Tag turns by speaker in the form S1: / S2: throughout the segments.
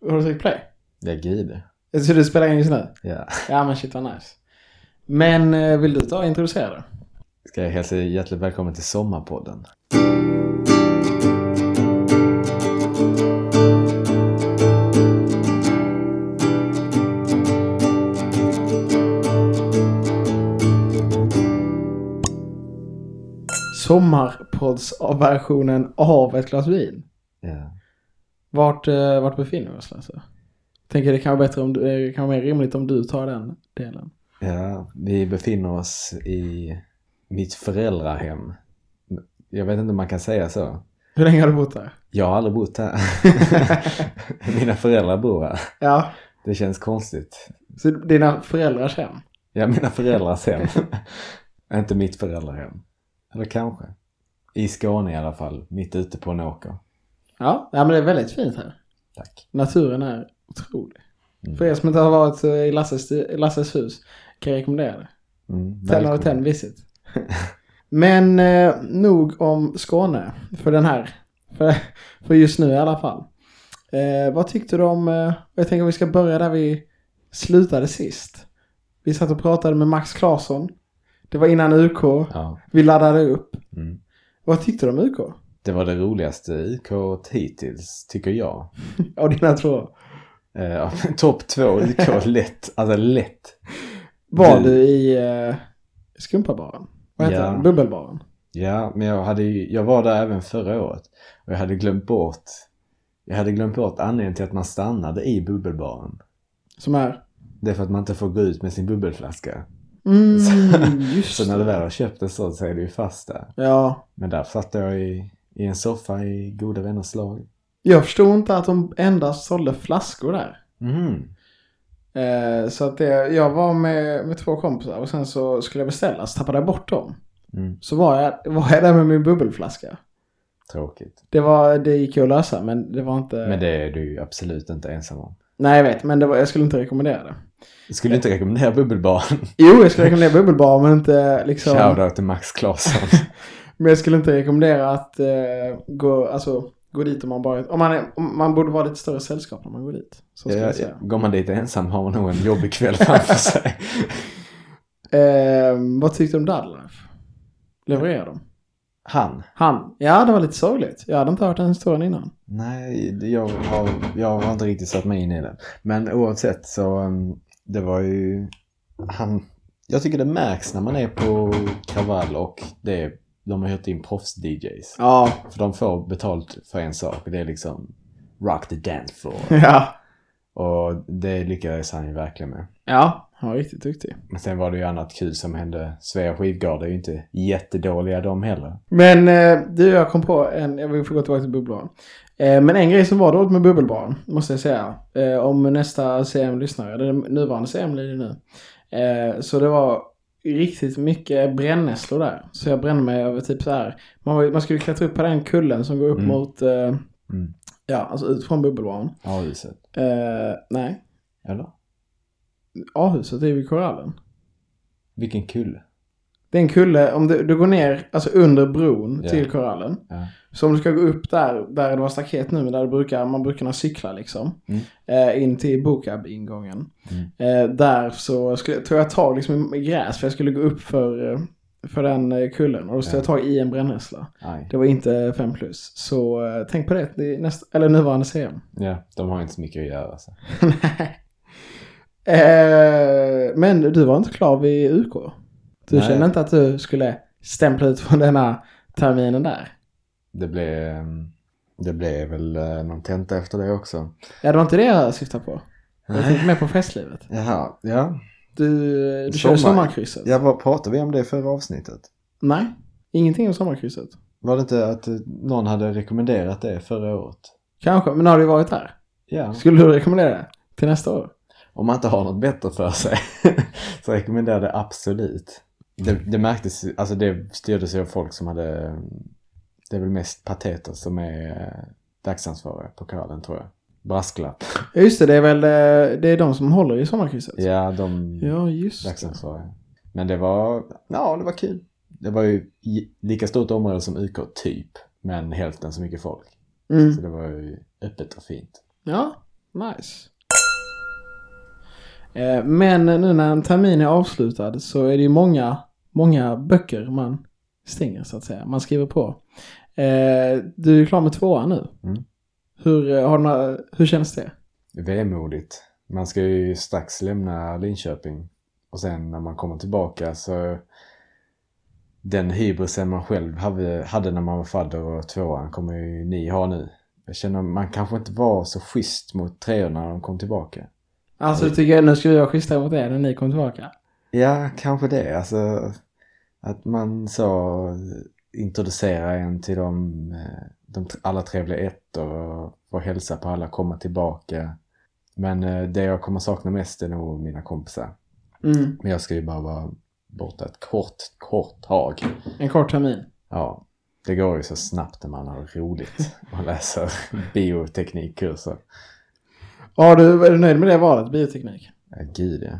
S1: Har du tryckt play?
S2: Ja, gud.
S1: Så du spelar in just nu?
S2: Ja.
S1: Ja men shit vad nice. Men eh, vill du ta och introducera det?
S2: Ska jag hälsa er hjärtligt välkommen till Sommarpodden.
S1: Sommarpoddsversionen av ett glas vin.
S2: Ja.
S1: Vart, eh, vart befinner vi oss Lasse? Tänker det kan vara bättre om du, eh, det kan vara mer rimligt om du tar den delen.
S2: ja, vi befinner oss i mitt föräldrahem. Jag vet inte om man kan säga så.
S1: Hur länge har du bott där?
S2: Jag har aldrig bott här. Mina föräldrar bor här.
S1: Ja,
S2: Det känns konstigt.
S1: så dina föräldrars hem.
S2: Ja, mina föräldrars hem. inte mitt föräldrahem. Eller kanske. I Skåne i alla fall. Mitt ute på en åker.
S1: Ja, ja men det är väldigt fint här.
S2: Tack.
S1: Naturen är otrolig.
S2: Mm.
S1: För er som inte har varit eh, i Lasses, i Lasses hus kan jag rekommendera det.
S2: Mm,
S1: 10 av
S2: välkommen.
S1: 10 visit. Men eh, nog om Skåne för den här. För, för just nu i alla fall. Eh, vad tyckte du om, eh, jag tänker vi ska börja där vi slutade sist. Vi satt och pratade med Max Claesson. Det var innan UK.
S2: Ja.
S1: Vi laddade upp.
S2: Mm.
S1: Vad tyckte du om UK?
S2: Det var det roligaste UK hittills, tycker jag.
S1: Av dina två.
S2: Eh, Topp två UK, lätt. Alltså lätt.
S1: Var
S2: Du-
S1: du i eh, Skumpabaren? Vad heter
S2: Ja.
S1: den? Bubbelbaren?
S2: Ja, men jag, hade ju, jag var där även förra året. Och jag hade glömt bort jag hade glömt bort anledningen till att man stannade i bubbelbaren.
S1: Som är...
S2: Det är för att man inte får gå ut med sin bubbelflaska.
S1: Mm, just
S2: Så när du
S1: det.
S2: väl har köpt en sån så är du ju fast där.
S1: Ja,
S2: Men där satt jag i, i en soffa i goda vänners lag.
S1: Jag förstod inte att de endast sålde flaskor där.
S2: Mm.
S1: Eh, så att det, jag var med, med två kompisar och sen så skulle jag beställa så tappade jag bort dem.
S2: Mm.
S1: Så var jag, var jag där med min bubbelflaska.
S2: Tråkigt.
S1: Det, var, det gick ju att lösa men det var inte...
S2: Men det är du ju absolut inte ensam om.
S1: Nej jag vet men det var, jag skulle inte rekommendera det.
S2: Jag skulle inte rekommendera bubbelbaren.
S1: Jo jag skulle rekommendera bubbelbar men inte liksom...
S2: Shoutout till Max Claesson.
S1: Men jag skulle inte rekommendera att eh, gå, alltså, gå dit om man bara... Om man, är, om man borde vara lite större sällskap när man går dit. Så skulle
S2: Ja,
S1: jag säga.
S2: ja, Går man dit ensam har man nog en jobbig kväll framför sig.
S1: Eh, vad tyckte du om Dadlife? Levererar de?
S2: Han?
S1: Han. Ja, det var lite sorgligt. Jag hade inte hört den historien innan.
S2: Nej, jag har, jag har inte riktigt satt mig in i den. Men oavsett så, um, det var ju... Han... Jag tycker det märks när man är på kravall och det, de har hyrt in proffs-DJs.
S1: Ja.
S2: För de får betalt för en sak. Det är liksom rock the dance floor.
S1: Ja.
S2: Och det lyckades han ju verkligen med.
S1: Ja, han var riktigt duktig.
S2: Men sen var det ju annat kul som hände. Svea Skivgard är ju inte jättedåliga de heller.
S1: Men eh, du, jag kom på en, jag vill få gå tillbaka till bubblan. Eh, men en grej som var dåligt med bubbelbarn, måste jag säga. Eh, om nästa CM lyssnar, eller den nuvarande CM blir det nu. Eh, så det var riktigt mycket brännässlor där. Så jag brände mig över typ så här. Man, var, ju- man skulle klättra upp på den kullen som går upp
S2: Mm.
S1: mot, eh,
S2: Mm.
S1: ja, alltså ut från bubbelbarn.
S2: Har du sett?
S1: Eh, nej,
S2: Eller?
S1: A-huset är ju vid korallen.
S2: Vilken kul.
S1: Det är en kulle, om du, du går ner alltså under bron
S2: Ja.
S1: till korallen.
S2: Ja.
S1: Så om du ska gå upp där, där det var staket nu, men där det brukar, man brukar kunna cykla liksom.
S2: Mm.
S1: Eh, in till Bokab-ingången. Eh, där så skulle, tog jag tag liksom i gräs för jag skulle gå upp för, eh, för den eh, kullen. Och då stod
S2: Ja.
S1: jag tag i en brännässla.
S2: Aj.
S1: Det var inte 5 plus. Så eh, tänk på det, i nästa, eller nuvarande CM.
S2: Ja, de har inte så mycket att göra. alltså. Så.
S1: eh, men du var inte klar vid UK. Du
S2: Nej.
S1: kände inte att du skulle stämpla ut från denna terminen där?
S2: Det blev... ehm, Det blev väl eh, någon tenta efter det också.
S1: Ja, det var inte det jag syftade på. Jag tänkte mer på festlivet.
S2: Jaha, ja.
S1: Du, du körde
S2: Sommar.
S1: sommarkrysset?
S2: ja. Vad pratade vi om det i förra avsnittet?
S1: Nej, ingenting om sommarkrysset.
S2: Var det inte att eh, någon hade rekommenderat det förra året?
S1: Kanske, men har du varit där?
S2: Ja.
S1: Skulle du rekommendera det till nästa år?
S2: Om man inte har något bättre för sig så rekommenderar jag det absolut. Det, det märktes, alltså det styrdes ju av folk som hade, mm, det är väl mest pateter som är eh, dagsansvariga på korallen tror jag. Brasklapp.
S1: Ja, just det, det är väl eh, det är de som håller i sommarkrysset?
S2: Ja, de
S1: Ja, just det.
S2: dagsansvariga. Men det var, ja det var kul. Det var ju i- lika stort område som UK typ, men hälften så mycket folk.
S1: Mm.
S2: Så det var ju öppet och fint.
S1: Ja, Nice. Eh, Men nu när en termin är avslutad så är det ju många, många böcker man stänger så att säga. Man skriver på. Eh, Du är ju klar med tvåan nu.
S2: Mm.
S1: Hur, eh, har du, några- hur känns det?
S2: vemodigt. Man ska ju strax lämna Linköping. Och sen när man kommer tillbaka så den hybrisen man själv hade, hade när man var fadder och tvåan kommer ju ni ha nu. Jag känner man kanske inte var så schysst mot treorna när de kom tillbaka.
S1: Alltså du tycker jag nu ska vi vara schyssta mot er när ni kommer tillbaka.
S2: Ja, kanske det. Alltså att man så introducerar en till de, eh, de tr- alla trevliga ettor och får hälsa på alla, komma tillbaka. Men eh, det jag kommer sakna mest är nog mina kompisar.
S1: Mm.
S2: Men jag ska ju bara vara borta ett kort, kort tag.
S1: En kort termin.
S2: Ja, det går ju så snabbt när man har roligt och läser bioteknikkurser.
S1: Har du, är du nöjd med det valet, bioteknik?
S2: Ja, gud ja.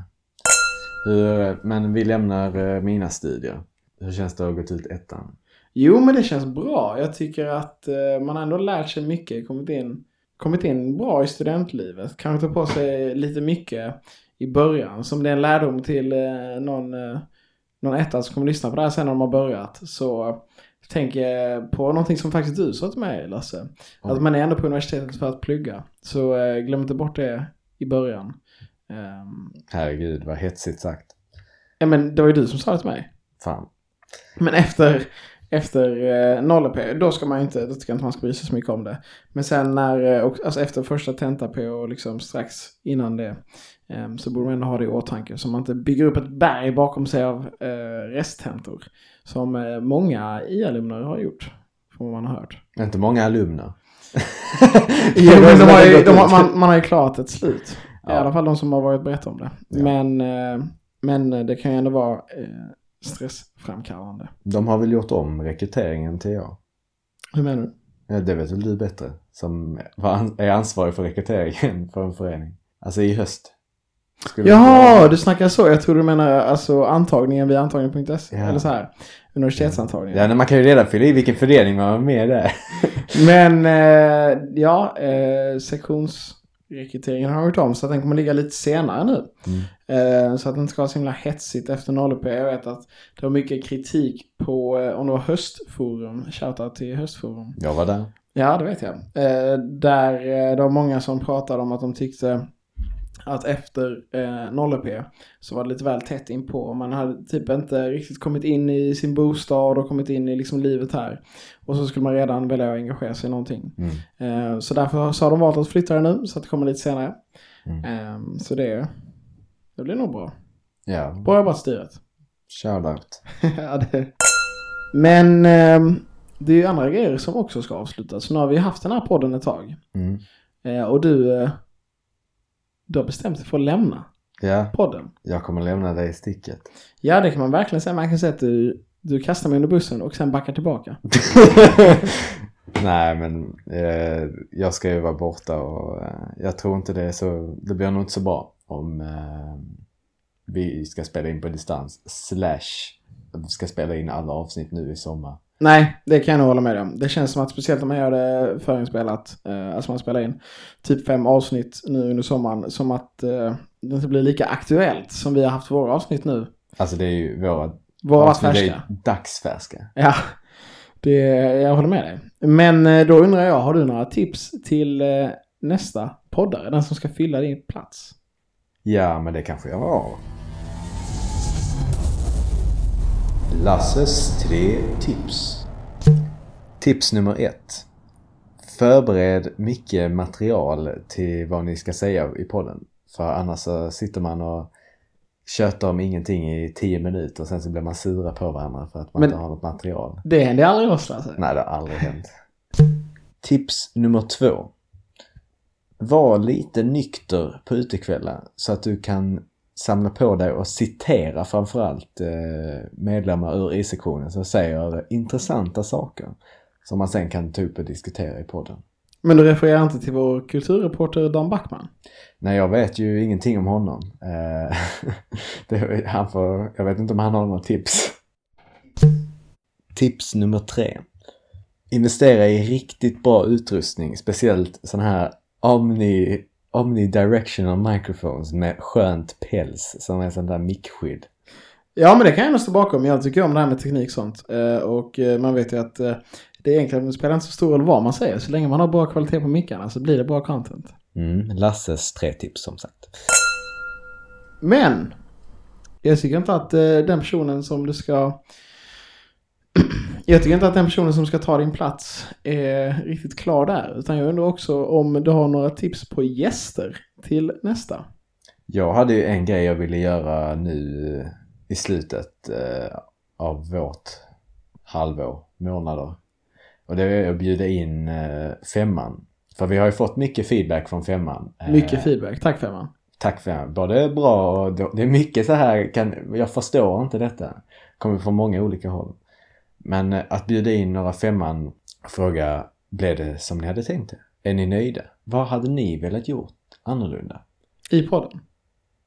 S2: Hur, eh, men vi lämnar eh, mina studier. Hur känns det att ha gått ut ettan?
S1: Jo, men det känns bra. Jag tycker att eh, man har ändå lärt sig mycket, kommit in, kommit in bra i studentlivet. Kanske ta på sig lite mycket i början. Som det är en lärdom till eh, någon, eh, någon etta som kommer lyssna på det här sen när de har börjat. Så tänk eh, på någonting som faktiskt du sa till mig, Lasse.
S2: Oj.
S1: Att man är ändå på universitetet för att plugga. Så eh, glöm inte bort det i början. Ehm,
S2: Herregud, vad hetsigt sagt.
S1: ja, men det var ju du som sa det till mig.
S2: Fan.
S1: Men efter, efter eh, 0P, då ska man ju inte, då tycker jag inte man ska bry sig så mycket om det. Men sen när, eh, och, alltså efter första tenta-P och liksom strax innan det, eh, så borde man ändå ha det i åtanke. Så man inte bygger upp ett berg bakom sig av eh, resttentor. Som eh, många IA-alumner har gjort, får man ha hört.
S2: Inte många alumner.
S1: Jo, men de
S2: som
S1: har
S2: hade
S1: ju,
S2: gått
S1: de har,
S2: ut.
S1: man, man har ju klarat ett slut. I
S2: Ja.
S1: alla fall de som har varit berätta om det.
S2: Ja.
S1: Men, eh, men det kan ju ändå vara eh, stressframkallande.
S2: De har väl gjort om rekryteringen till jag.
S1: Hur menar du?
S2: Ja, det vet väl du bättre, som var an- är ansvarig för rekryteringen för en förening. Alltså i höst. Skulle
S1: Jaha, du snackar så. Jag tror du menar alltså antagningen via antagningen.se.
S2: Ja.
S1: Eller så här, universitetsantagningen.
S2: Ja, men man kan ju redan fylla i vilken förening man var med där.
S1: Men eh, ja, eh, sektionsrekryteringen har gjort om så att den kommer ligga lite senare nu.
S2: Mm.
S1: Eh, så att det inte ska vara så himla hetsigt efter 0P. Jag vet att det var mycket kritik på eh, om det var höstforum. Shoutout till höstforum.
S2: Jag var där.
S1: Ja, det vet jag. Eh, där eh, det var många som pratade om att de tyckte att efter eh, 0P så var det lite väl tätt inpå. Man hade typ inte riktigt kommit in i sin bostad och kommit in i liksom livet här. Och så skulle man redan välja att engagera sig i någonting.
S2: Mm.
S1: Eh, så därför så har de valt att flytta det nu så att det kommer lite senare.
S2: Mm.
S1: Eh, så det, det blir nog bra.
S2: Ja,
S1: Bra jobbat styret.
S2: shoutout.
S1: ja, det... Men ehm, det är ju andra grejer som också ska avslutas. Så nu har vi haft den här podden ett tag.
S2: Mm.
S1: Eh, och du, eh, du har bestämt dig för att lämna
S2: Ja,
S1: podden.
S2: jag kommer lämna dig i sticket.
S1: Ja, det kan man verkligen säga. Man kan säga att du, du kastar mig under bussen och sen backar tillbaka.
S2: Nej, men eh, jag ska ju vara borta och eh, jag tror inte det är så, det blir nog inte så bra om eh, vi ska spela in på distans slash vi ska spela in alla avsnitt nu i sommar.
S1: Nej, det kan jag nog hålla med om. Det känns som att speciellt om man gör det förinspelat, eh, alltså man spelar in typ fem avsnitt nu under sommaren, som att eh, det inte blir lika aktuellt som vi har haft våra avsnitt nu.
S2: Alltså det är ju våra
S1: Våra
S2: avsnitt är ju
S1: färska.
S2: dagsfärska.
S1: Ja, det, jag håller med dig. Men eh, då undrar jag, har du några tips till eh, nästa poddare? Den som ska fylla din plats?
S2: Ja, men det kanske jag har. Lasses tre tips. Tips nummer ett. Förbered mycket material till vad ni ska säga i podden. För annars så sitter man och tjötar om ingenting i tio minuter och sen så blir man sura på varandra för att man
S1: Men-
S2: inte har något material.
S1: Det händer ju aldrig oss alltså.
S2: Nej, det har aldrig hänt. Tips nummer två. Var lite nykter på utekvällar så att du kan samla på dig och citera framförallt eh, medlemmar ur I-sektionen som säger intressanta saker som man sen kan ta upp och diskutera i podden.
S1: Men du refererar inte till vår kulturreporter Dan Backman?
S2: Nej, jag vet ju ingenting om honom. Eh, det, han får, jag vet inte om han har några tips. Tips nummer tre. Investera i riktigt bra utrustning, speciellt sån här Omni Omnidirectional microphones med skönt päls som är sån där mickskydd.
S1: Ja, men det kan jag nog stå bakom. Jag tycker om det här med teknik och sånt. Eh, Och eh, man vet ju att eh, det egentligen spelar inte så stor roll vad man säger. Så länge man har bra kvalitet på mickarna så blir det bra content.
S2: Mm, Lasses tre tips som sagt.
S1: Men! Jag tycker inte att eh, den personen som du ska... jag tycker inte att den personen som ska ta din plats är riktigt klar där. Utan jag undrar också om du har några tips på gäster till nästa.
S2: Jag hade ju en grej jag ville göra nu eh, i slutet eh, av vårt halvår, månader. Och det är att bjuda in eh, femman. För vi har ju fått mycket feedback från femman. Eh,
S1: Mycket feedback. Tack Femman.
S2: Tack för det. Både bra och då, Det är mycket så här, kan, jag förstår inte detta. Kommer från många olika håll. Men eh, att bjuda in några femman och fråga, blev det som ni hade tänkt det? Är ni nöjda? Vad hade ni velat gjort annorlunda?
S1: I podden.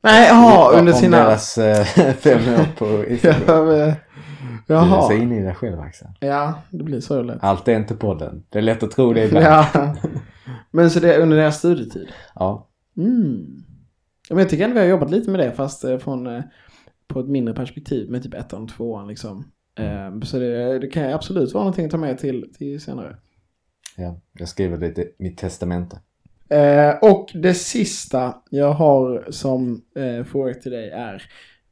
S1: Nej, jaha, under
S2: Om
S1: sina...
S2: deras eh, fem år på Instagram.
S1: Ja, men-
S2: Jaha. Du
S1: Jaha.
S2: in i dig själv Axel.
S1: Ja, det blir så lätt.
S2: Allt är inte podden. Det är lätt att tro det ibland. Ja.
S1: Ja. Men så det är under deras studietid. Mm. Ja, Men jag tycker ändå vi har jobbat lite med det fast eh, från eh, på ett mindre perspektiv med typ ettan, tvåan liksom.
S2: Mm.
S1: Eh, Så det, det kan ju absolut vara någonting att ta med till, till senare.
S2: ja. Jag skriver lite i mitt testamente.
S1: Eh, Och det sista jag har som eh, fråga till dig är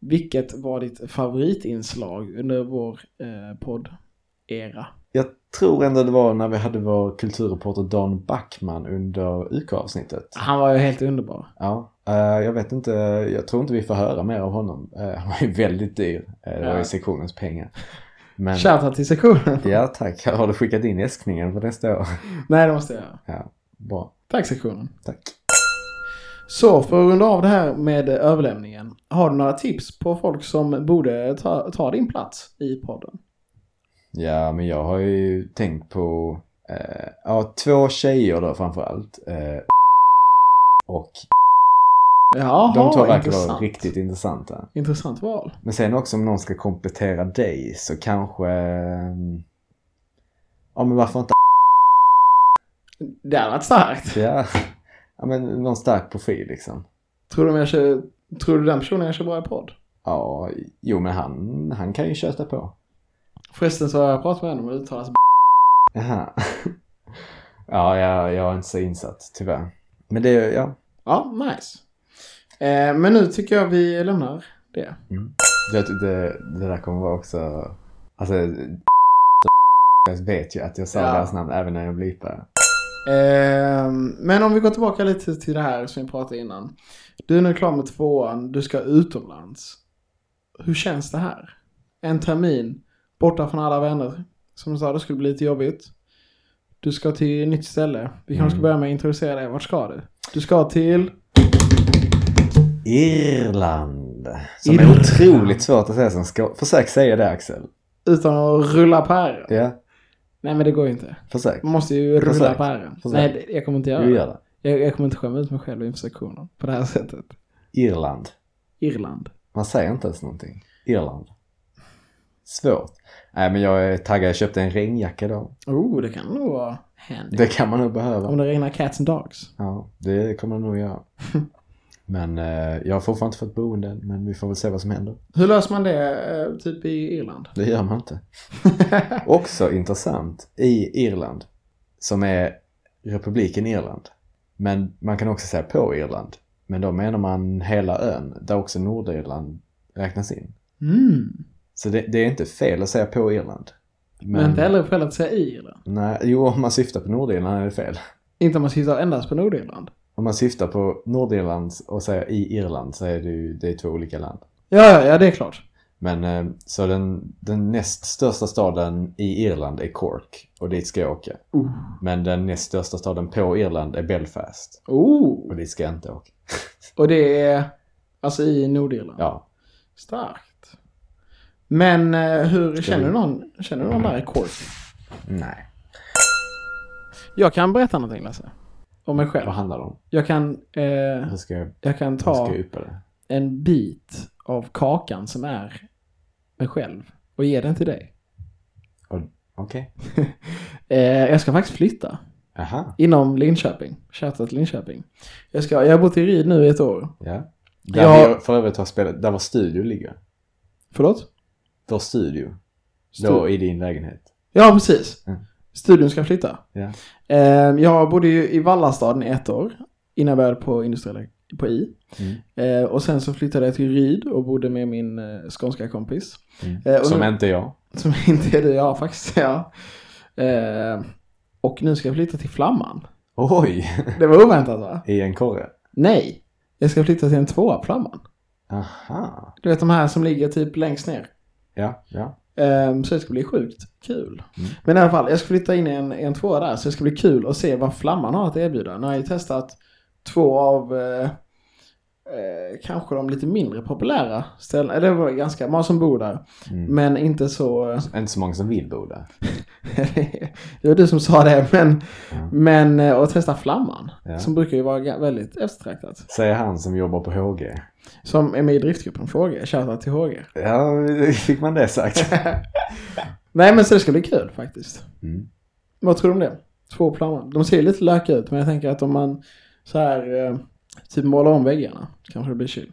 S1: vilket var ditt favoritinslag under vår eh, podd-era?
S2: Jag tror ändå det var när vi hade vår kulturreporter Dan Backman under UK-avsnittet.
S1: Han var ju helt underbar.
S2: Ja. Eh, jag vet inte, jag tror inte vi får höra mer av honom. Eh, han var ju väldigt dyr. Eh, det var
S1: Ja.
S2: ju sektionens pengar. Men,
S1: Shoutout till sektionen.
S2: ja tack, har du skickat in äskningen för nästa år?
S1: Nej, det måste jag göra.
S2: Bra,
S1: Tack sektionen.
S2: tack.
S1: Så för att runda av det här med överlämningen. Har du några tips på folk som borde ta, ta din plats i podden?
S2: Ja, men jag har ju tänkt på eh, ja, två tjejer då framförallt. Eh, och
S1: Jaha,
S2: de två verkar vara
S1: intressant.
S2: riktigt intressanta.
S1: Intressant val.
S2: Men sen också om någon ska komplettera dig så kanske... eh, Ja, men varför inte
S1: Det hade varit starkt.
S2: ja. ja, men någon stark profil liksom.
S1: Tror du, jag kör, tror du den personen jag kör bra i podd?
S2: Ja, jo men han, han kan ju köta på.
S1: Förresten så har jag pratat med honom och uttalas
S2: Jaha. Ja, jag, jag är inte så insatt tyvärr. Men det, ja.
S1: Ja, nice. Eh, men nu tycker jag vi lämnar det.
S2: Jag tyckte det, det där kommer vara också... Alltså... Jag vet ju att jag sa
S1: Ja.
S2: deras namn även när jag blipade.
S1: Eh, men om vi går tillbaka lite till det här som vi pratade innan. Du är nu klar med tvåan, du ska utomlands. Hur känns det här? En termin, borta från alla vänner. Som du sa, det skulle bli lite jobbigt. Du ska till ett nytt ställe. Vi kanske ska
S2: Mm.
S1: börja med att introducera dig. Vart ska du? Du ska till...
S2: Irland. Som
S1: Irland.
S2: är otroligt svårt att säga som ska... Försök säga det Axel.
S1: Utan att rulla päron.
S2: Ja,
S1: Nej men det går ju inte.
S2: försök.
S1: Man måste ju rulla
S2: Försök.
S1: päron.
S2: Försök.
S1: Nej, det- jag kommer inte göra
S2: Du
S1: det.
S2: gör det.
S1: Jag, jag kommer inte skämma ut mig själv inför sektionen. På det här sättet.
S2: Irland.
S1: Irland.
S2: Man säger inte ens någonting. Irland. Svårt. Nej, men jag är taggad. Jag köpte en regnjacka då.
S1: Oh, det kan nog vara handy.
S2: Det kan man nog behöva.
S1: Om det regnar cats and dogs.
S2: Ja, det kommer det nog göra. Men eh, jag har fortfarande inte fått boende än, men vi får väl se vad som händer.
S1: Hur löser man det eh, typ i Irland?
S2: Det gör man inte. Också intressant, i Irland, som är republiken Irland. Men man kan också säga på Irland. Men då menar man hela ön, där också Nordirland räknas in.
S1: Mm.
S2: Så det, det är inte fel att säga på Irland.
S1: Men, inte heller fel att säga i Irland.
S2: Nej, jo, om man syftar på Nordirland är det fel.
S1: Inte om man sitter endast på Nordirland.
S2: Om man syftar på Nordirland och säger i Irland så är det ju det är två olika land.
S1: Ja, ja, ja, det är klart.
S2: Men eh, så den, den näst största staden i Irland är Cork och dit ska jag åka.
S1: Oh.
S2: Men den näst största staden på Irland är Belfast och
S1: oh.
S2: dit ska jag inte åka.
S1: Och det är alltså i Nordirland.
S2: Ja,
S1: Starkt. Men eh, hur känner
S2: vi-
S1: du någon, känner du någon där i Cork?
S2: nej.
S1: Jag kan berätta någonting Lasse. Om mig själv.
S2: Vad handlar det om?
S1: Jag kan, eh,
S2: Hur ska jag,
S1: jag kan
S2: hur ska
S1: ta
S2: jag uppa det?
S1: en bit av kakan som är mig själv och ge den till dig.
S2: Okej.
S1: Eh, jag ska faktiskt flytta.
S2: Aha,
S1: Inom Linköping. Shoutout Linköping. Jag, ska, jag har bott i Ryd nu i ett år.
S2: ja. Där
S1: Ja.
S2: vi för övrigt har spelat, där vår studio ligger.
S1: Förlåt?
S2: Vår studio. Då
S1: Stu-
S2: i din lägenhet.
S1: ja, precis.
S2: Mm.
S1: Studion ska flytta.
S2: Ja.
S1: Eh, Jag bodde ju i Vallastaden i ett år innan jag började på industriella på I.
S2: Mm.
S1: Eh, och sen så flyttade jag till Ryd och bodde med min eh, skånska kompis. Eh, och
S2: Mm. Som
S1: nu-
S2: inte jag.
S1: Som inte är du jag faktiskt. Ja. Eh, och nu ska jag flytta till Flamman.
S2: Oj!
S1: Det var oväntat va?
S2: I en korre.
S1: Nej, jag ska flytta till en tvåa Flamman.
S2: Aha.
S1: Du vet de här som ligger typ längst ner.
S2: Ja, ja.
S1: Ehm, så det ska bli sjukt kul.
S2: Mm.
S1: Men i alla fall, jag ska flytta in i en, i en tvåa där så det ska bli kul att se vad Flamman har att erbjuda. Nu har jag ju testat två av eh, eh, kanske de lite mindre populära ställena. Eller det var ganska många som bor där.
S2: Mm.
S1: Men inte så... eh,
S2: Inte så många som vill bo där.
S1: det var du som sa det. Men,
S2: Ja.
S1: men eh, att testa Flamman.
S2: Ja.
S1: Som brukar ju vara ga- väldigt eftertraktat.
S2: Säger han som jobbar på HG.
S1: Som är med i driftgruppen för HG. Shoutout till HG.
S2: Ja, fick man det sagt.
S1: Nej men så det ska bli kul faktiskt.
S2: Mm.
S1: Vad tror du om det? Två planer. De ser lite lökiga ut men jag tänker att om man så här eh, typ målar om väggarna kanske det blir chill.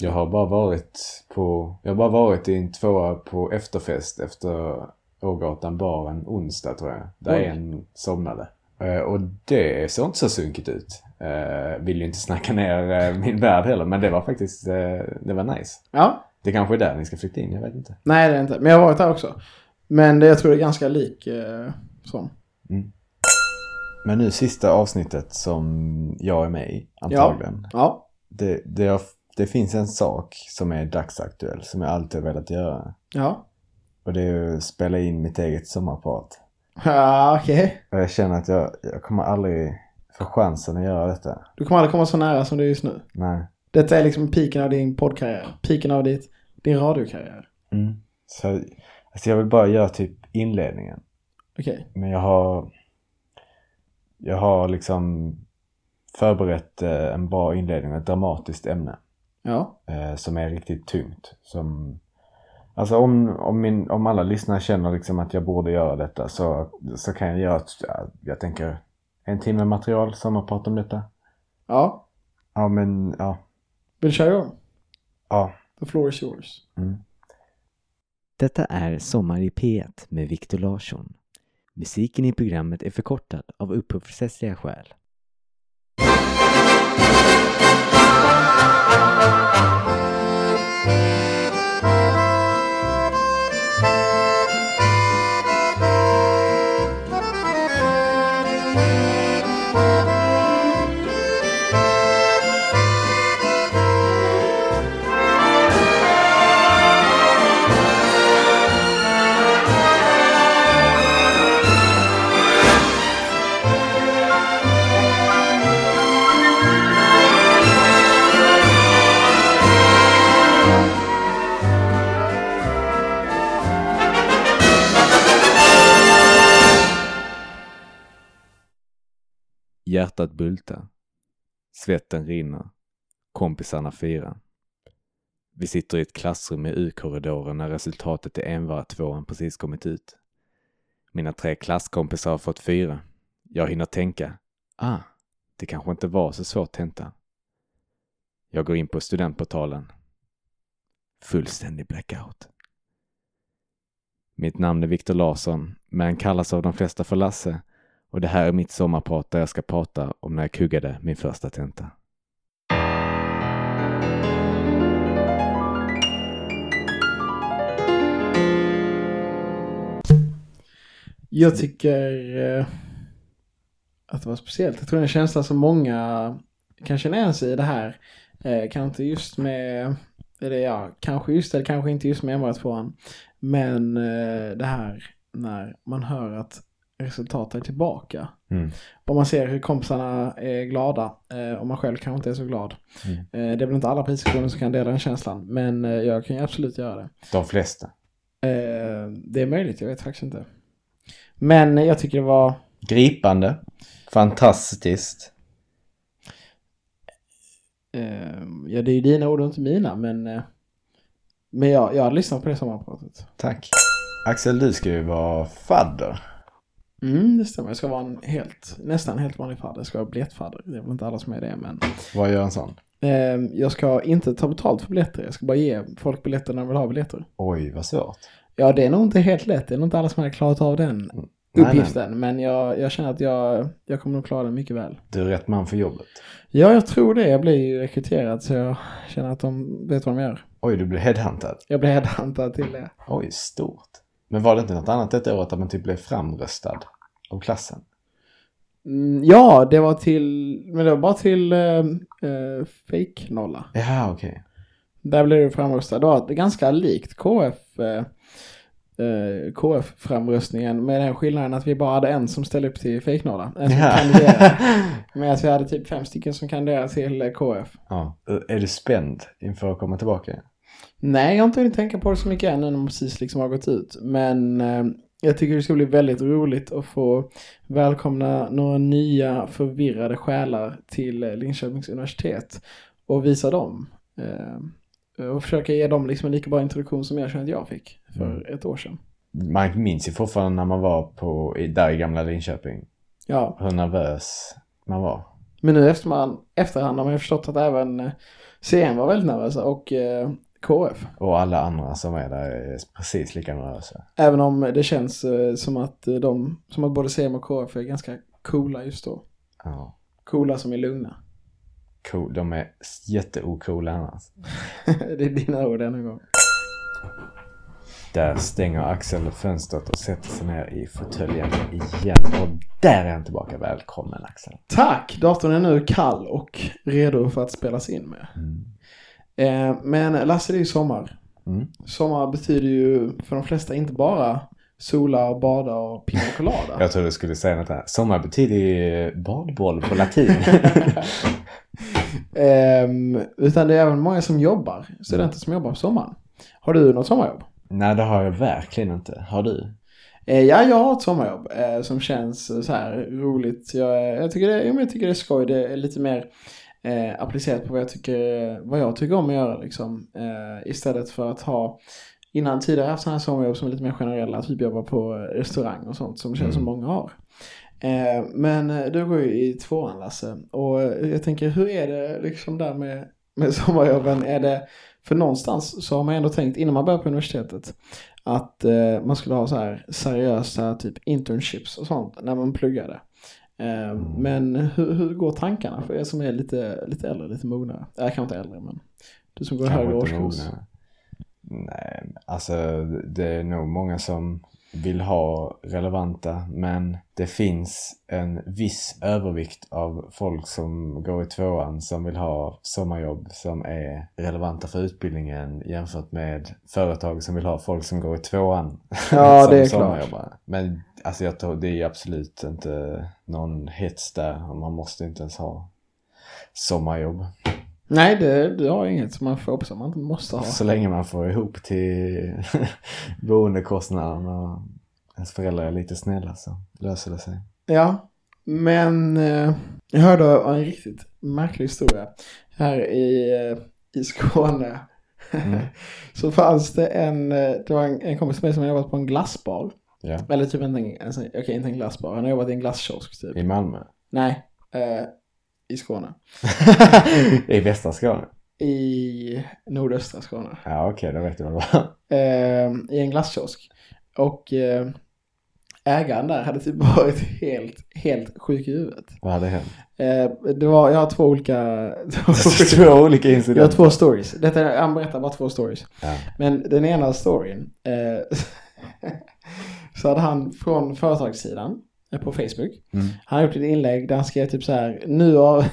S2: Jag har bara varit på, jag har bara varit i en tvåa på efterfest efter Ågatan bar en onsdag tror jag. Där
S1: Oj.
S2: en somnade. Eh, Och det såg inte så sunkigt ut. Eh, Vill ju inte snacka ner eh, min värld heller men det var faktiskt, eh, det var nice.
S1: Ja,
S2: Det kanske är där ni ska flytta in, jag vet inte.
S1: nej det är inte. Men jag har varit där också. Men det, jag tror det är ganska lik eh, sån.
S2: Men nu sista avsnittet som jag är med i antagligen.
S1: Ja,
S2: Det, det, har- det finns en sak som är dagsaktuell som jag alltid har velat göra.
S1: ja.
S2: Och det är ju att spela in mitt eget sommarprat.
S1: Ja, okej.
S2: Och jag känner att jag, jag kommer aldrig få chansen att göra detta.
S1: Du kommer aldrig komma så nära som du är just nu.
S2: Nej.
S1: Detta är liksom piken av din poddkarriär. Piken av ditt, din radiokarriär.
S2: Så, alltså jag vill bara göra typ inledningen.
S1: Okej.
S2: Men jag har, jag har liksom förberett eh, en bra inledning och ett dramatiskt ämne.
S1: Ja.
S2: eh, som är riktigt tungt. Som, alltså om, om, min, om alla lyssnare känner liksom att jag borde göra detta så, så kan jag göra, ett- jag tänker en timme material som har pratat om detta.
S1: Ja.
S2: Ja men ja.
S1: Vill du köra igång?
S2: ja.
S1: The floor is yours.
S3: Mm. Detta är Sommar i P1 med Viktor Larsson. Musiken i programmet är förkortad av upphovsrättsliga skäl. Hjärtat bultar. Svetten rinner. Kompisarna firar. Vi sitter i ett klassrum i U-korridoren när resultatet i envara-tvåan precis kommit ut. Mina tre klasskompisar har fått fyra. Jag hinner tänka, ah, det kanske inte var så svårt tenta. Jag går in på studentportalen. Fullständig blackout. Mitt namn är Viktor Larsson, men kallas av de flesta för Lasse och det här är mitt sommarprat där jag ska prata om när jag kuggade min första tenta.
S1: Jag tycker eh, att det var speciellt. Jag tror det är en känsla som många kan känna igen sig i det här. Eh, kanske inte just med, eller ja, kanske just eller kanske inte just med MR2an. Men eh, det här när man hör att resultatet är tillbaka.
S2: Mm.
S1: Och man ser hur kompisarna är glada eh, och man själv kanske inte är så glad.
S2: Mm.
S1: Eh, det är väl inte alla prinsessoner som kan dela den känslan. Men eh, jag kan ju absolut göra det.
S2: De flesta.
S1: Eh, det är möjligt, jag vet faktiskt inte. Men jag tycker det var...
S2: Gripande. Fantastiskt.
S1: Eh, ja, det är ju dina ord och inte mina, men... Eh, men jag, jag har lyssnat på det sommarpratet.
S2: Tack. Axel, du ska ju vara fadder.
S1: Mm, det stämmer. Jag ska vara en helt, nästan helt vanlig fadder. Jag ska vara biljettfadder. Det är väl inte alla som är det, men.
S2: Vad gör en sån?
S1: Eh, jag ska inte ta betalt för biljetter. Jag ska bara ge folk biljetter när de vill ha biljetter.
S2: Oj, vad svårt.
S1: Ja, det är nog inte helt lätt. Det är nog inte alla som hade klarat av den
S2: Nej,
S1: uppgiften. Men jag, jag känner att jag, jag kommer nog klara den mycket väl.
S2: Du är rätt man för jobbet.
S1: Ja, jag tror det. Jag blir ju rekryterad så jag känner att de vet vad de gör.
S2: Oj, du blev headhuntad.
S1: Jag blir headhuntad till det.
S2: Oj, stort. Men var det inte något annat detta året att man typ blev framröstad av klassen?
S1: Mm, ja, det var till, men det var bara till eh, eh, fake-nolla.
S2: Ja, okej.
S1: Där blev du framröstad. Det var ganska likt KF, eh, eh, KF-framröstningen med den skillnaden att vi bara hade en som ställde upp till fake-nolla. En som
S2: Ja.
S1: kandiderade. Medan vi hade typ fem stycken som kandiderade till eh, KF.
S2: ja. Är du spänd inför att komma tillbaka?
S1: Nej, jag har inte hunnit tänka på det så mycket än när de precis liksom har gått ut. Men eh, jag tycker det ska bli väldigt roligt att få välkomna några nya förvirrade själar till eh, Linköpings universitet och visa dem. Eh, och försöka ge dem liksom en lika bra introduktion som jag känner att jag fick för ett år sedan.
S2: Man minns ju fortfarande när man var på, i, där i gamla Linköping.
S1: Ja,
S2: Hur nervös man var.
S1: men nu efter man, efterhand har man ju förstått att även eh, CN var väldigt nervösa och eh, KF.
S2: Och alla andra som är där är precis lika nervösa.
S1: Även om det känns eh, som att eh, de, som att både CM och KF är ganska coola just då.
S2: Ja.
S1: Coola som är lugna.
S2: Cool. De är jätteocoola annars.
S1: det är dina ord denna gång.
S2: Där stänger Axel fönstret och sätter sig ner i fåtöljen igen. Och där är han tillbaka. Välkommen Axel.
S1: Tack! Datorn är nu kall och redo för att spelas in med. Eh, men Lasse, det är ju sommar.
S2: Mm.
S1: Sommar betyder ju för de flesta inte bara sola, och bada och pina colada.
S2: Jag trodde du skulle säga något här. Sommar betyder ju badboll på latin.
S1: Ehm, utan det är även många som jobbar. Studenter som jobbar på sommaren. Har du något sommarjobb?
S2: Nej, det har jag verkligen inte. Har du?
S1: Eh, ja, jag har ett sommarjobb eh, som känns eh, så här roligt. Jag, jag, tycker det, jo, men jag tycker det är skoj. Det är lite mer eh, applicerat på vad jag, tycker, vad jag tycker om att göra. Liksom. Eh, istället för att ha Innan tidigare har jag haft sådana här sommarjobb som är lite mer generella, typ jobba på restaurang och sånt som känns som många har. Eh, men eh, du går ju i tvåan Lasse och eh, jag tänker hur är det liksom där med, med sommarjobben? Är det, för någonstans så har man ändå tänkt innan man börjar på universitetet att eh, man skulle ha så här seriösa typ internships och sånt när man pluggade. Eh, men hur, hur går tankarna för er som är lite, lite äldre, lite mognare? Jag kanske inte äldre men du som går i
S2: Kanske
S1: högre
S2: inte
S1: årskurs.
S2: mogna. Nej, alltså det är nog många som vill ha relevanta, men det finns en viss övervikt av folk som går i tvåan som vill ha sommarjobb som är relevanta för utbildningen jämfört med företag som vill ha folk som går i tvåan.
S1: Ja,
S2: som
S1: det är klart.
S2: sommarjobbare. Men alltså jag tror det är absolut inte någon hets där och man måste inte ens ha sommarjobb.
S1: Nej, det, det har inget som man får hoppas att man inte måste ha.
S2: Så länge man får ihop till boendekostnaden och ens föräldrar är lite snälla så löser det sig.
S1: Ja, men eh, jag hörde en riktigt märklig historia. Här i, eh, i Skåne
S2: Mm.
S1: så fanns det en, eh, det var en, en kompis till mig som hade jobbat på en glassbar.
S2: Ja.
S1: Eller typ inte en, alltså, okej, inte en glassbar, han har jobbat i en glasskiosk typ.
S2: I Malmö.
S1: Nej, eh, i Skåne.
S2: I västra Skåne.
S1: I nordöstra Skåne.
S2: Ja okej, då vet du vad det var.
S1: eh, i en glasskiosk. Och eh, ägaren där hade typ varit helt, helt sjuk i huvudet.
S2: Vad hade hänt?
S1: Eh, det var, jag har två olika...
S2: Två olika
S1: jag har
S2: incidenter.
S1: två stories. Detta, är- han berättar bara två stories.
S2: Ja.
S1: Men den ena storyn eh, så hade han från företagssidan eh, på Facebook.
S2: Mm.
S1: Han har gjort ett inlägg där han skrev typ så här. Nu har...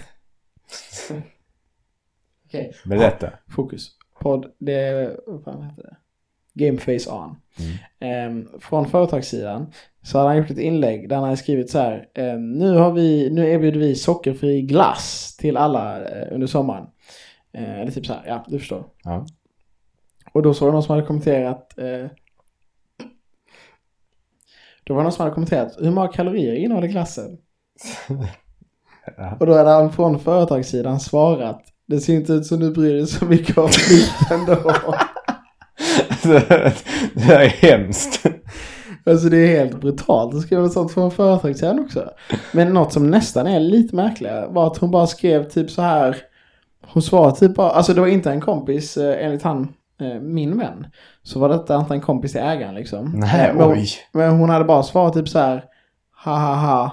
S1: Okej.
S2: Berätta.
S1: Fokus. Podd, det, vad fan heter det? Game Face On.
S2: Mm.
S1: Ehm, från företagssidan så hade han gjort ett inlägg där han hade skrivit så här. ehm, nu, har vi, nu erbjuder vi sockerfri glass till alla eh, under sommaren. Eh, eller typ så här, ja du förstår.
S2: Ja.
S1: Och då såg jag någon som hade kommenterat eh, Då var det någon som hade kommenterat hur många kalorier innehåller glassen?
S2: Ja.
S1: Och då hade han från företagssidan svarat Det ser inte ut som du bryr dig så mycket om vikt ändå.
S2: det här är hemskt.
S1: Alltså det är helt brutalt att skriva sånt från företagshämnd också. Men något som nästan är lite märkligare var att hon bara skrev typ så här. Hon svarade typ bara, alltså det var inte en kompis eh, enligt han, eh, min vän. Så var detta inte en kompis till ägaren liksom.
S2: Nej,
S1: Eh, men,
S2: oj.
S1: Men hon hade bara svarat typ så här. Ha ha ha.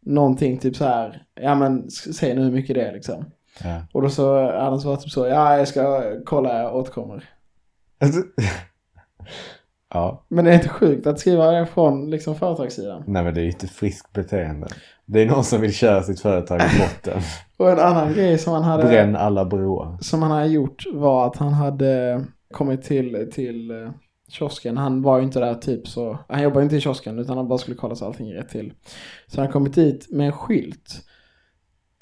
S1: Någonting typ så här. Ja men s- säg nu hur mycket det är liksom.
S2: Ja.
S1: Och då så hade han svarat typ så. Ja jag ska kolla, jag återkommer.
S2: Alltså, ja,
S1: Men det är inte sjukt att skriva det från liksom företagssidan.
S2: nej men det är ju inte friskt beteende. Det är någon som vill köra sitt företag i botten.
S1: Och en annan grej som han hade,
S2: Bränn alla broar.
S1: som han hade gjort var att han hade kommit till, till eh, kiosken. Han var ju inte där typ så. Han jobbade inte i kiosken utan han bara skulle kolla så allting rätt till. Så han kommit dit med en skylt.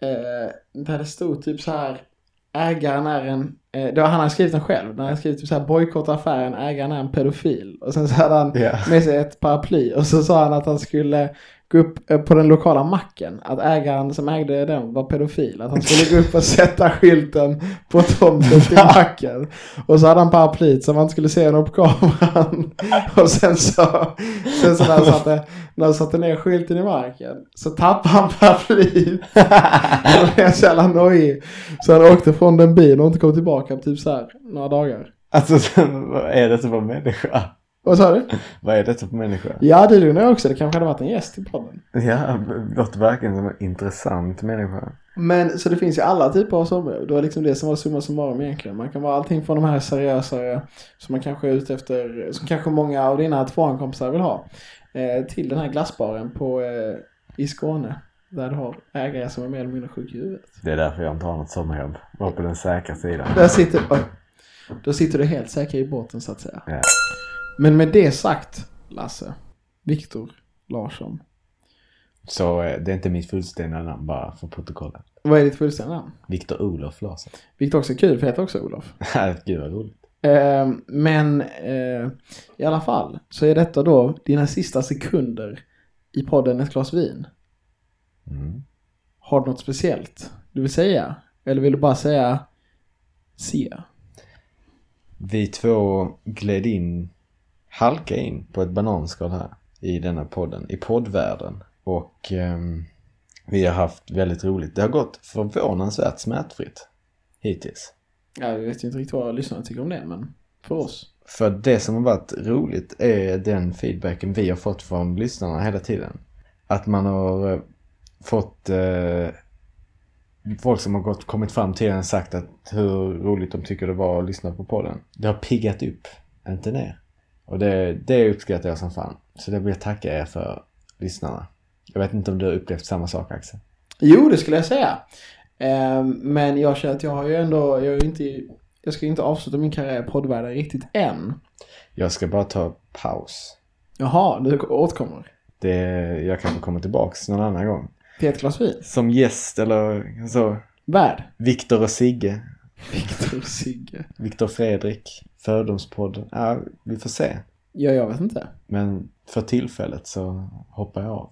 S1: Eh, där det stod typ så här. Ägaren är en, eh, det var han hade skrivit den själv. Där han skrev typ så här bojkotta affären, ägaren är en pedofil. Och sen så hade han
S2: Ja.
S1: med sig ett paraply och så sa han att han skulle gå upp eh, på den lokala macken. Att ägaren som ägde den var pedofil. Att han skulle gå upp och sätta skylten på tomten till macken. Och så hade han paraplyt så man inte skulle se honom på kameran. Och sen så, sen så när, han satte, när han satte ner skylten i marken så tappade han paraplyt. Han blev så jävla nojig. Så han åkte från den bilen och inte kom tillbaka på typ så här några dagar.
S2: Alltså, vad är detta för människa?
S1: Vad sa du?
S2: Vad är detta för människa?
S1: Ja, det undrar jag också. Det kanske hade varit en gäst i podden.
S2: Ja, låter verkligen som en intressant människa.
S1: Men så det finns ju alla typer av sommarjobb. Det var liksom det som var summa summarum egentligen. Man kan vara allting från de här seriösare som man kanske är ute efter, som kanske många av dina tvåankompisar vill ha. Eh, till den här glassbaren på, eh, i Skåne. Där du har ägare som är mer eller mindre sjuk i huvudet.
S2: Det är därför jag inte har något sommarjobb. Var på den säkra sidan.
S1: Där sitter, oj, då sitter du helt säker i båten så att säga.
S2: Ja.
S1: Men med det sagt, Lasse, Viktor Larsson.
S2: Så eh, det är inte mitt fullständiga namn bara för protokollet.
S1: Vad är ditt fullständiga namn?
S2: Viktor Olof Larsson.
S1: Vilket också är kul, för jag heter också Olof.
S2: Gud vad roligt.
S1: Eh, men eh, i alla fall så är detta då dina sista sekunder i podden Ett glas vin.
S2: Mm.
S1: Har du något speciellt du vill säga? Eller vill du bara säga se?
S2: Vi två gled in, halka in på ett bananskal här i denna podden, i poddvärlden. Och ehm, vi har haft väldigt roligt. Det har gått förvånansvärt smärtfritt hittills.
S1: Jag vet ju inte riktigt vad lyssnarna tycker om det, men för oss.
S2: För det som har varit roligt är den feedbacken vi har fått från lyssnarna hela tiden. Att man har eh, fått eh, folk som har gått, kommit fram till en och sagt att hur roligt de tycker det var att lyssna på podden. Det har piggat upp, inte ner. Och det, det uppskattar jag som fan. Så det vill jag tacka er för, lyssnarna. Jag vet inte om du har upplevt samma sak Axel?
S1: Jo, det skulle jag säga. Eh, men jag känner att jag har ju ändå, jag är ju inte, jag ska ju inte avsluta min karriär i poddvärlden riktigt än.
S2: Jag ska bara ta paus.
S1: Jaha, du återkommer.
S2: Det, jag kanske kommer tillbaks någon annan gång.
S1: Till ett glas vin.
S2: Som gäst eller så.
S1: Värd.
S2: Viktor och Sigge.
S1: Viktor Sigge.
S2: Viktor Fredrik. Fördomspodden. Ja, vi får se.
S1: Ja, jag vet inte.
S2: Men för tillfället så hoppar jag av.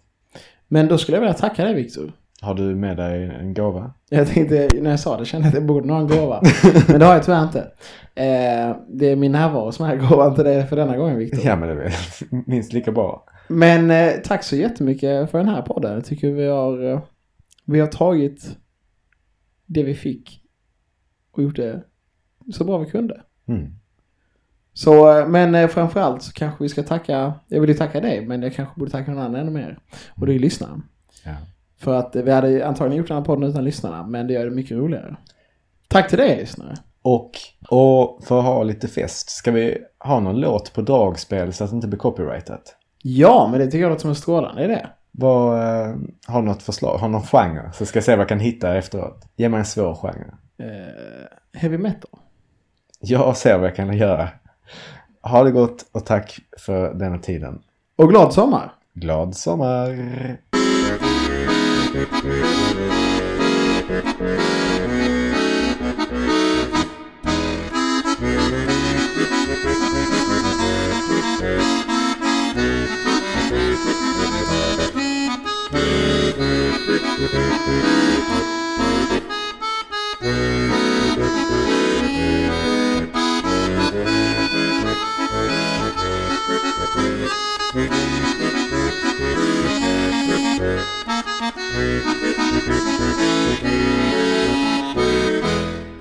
S1: Men då skulle jag vilja tacka dig Viktor.
S2: Har du med dig en gåva?
S1: Jag tänkte, när jag sa det kände jag att jag borde ha en gåva. Men det har jag tyvärr inte. Eh, det är min närvaro som är gåvan till dig för denna gången Viktor.
S2: Ja, men det är väl minst lika bra.
S1: Men eh, tack så jättemycket för den här podden. Jag tycker vi har, eh, vi har tagit det vi fick och gjort det så bra vi kunde.
S2: Mm.
S1: Så, eh, men eh, framförallt så kanske vi ska tacka, jag vill ju tacka dig, men jag kanske borde tacka någon annan ännu mer. Och det är ju lyssnaren.
S2: Ja.
S1: För att eh, vi hade ju antagligen gjort den här podden utan lyssnarna, men det gör det mycket roligare. Tack till dig lyssnare.
S2: Och, och för att ha lite fest, ska vi ha någon låt på dragspel så att det inte blir copyrightat?
S1: Ja, men det tycker jag låter som en strålande idé.
S2: Vad, eh, har du något förslag? Har du någon genre? Så ska jag se vad jag kan hitta efteråt. Ge mig en svår genre.
S1: Eh, heavy metal.
S2: Jag ser vad jag kan göra. Ha det gott och tack för denna tiden.
S1: Och glad sommar!
S2: Glad sommar!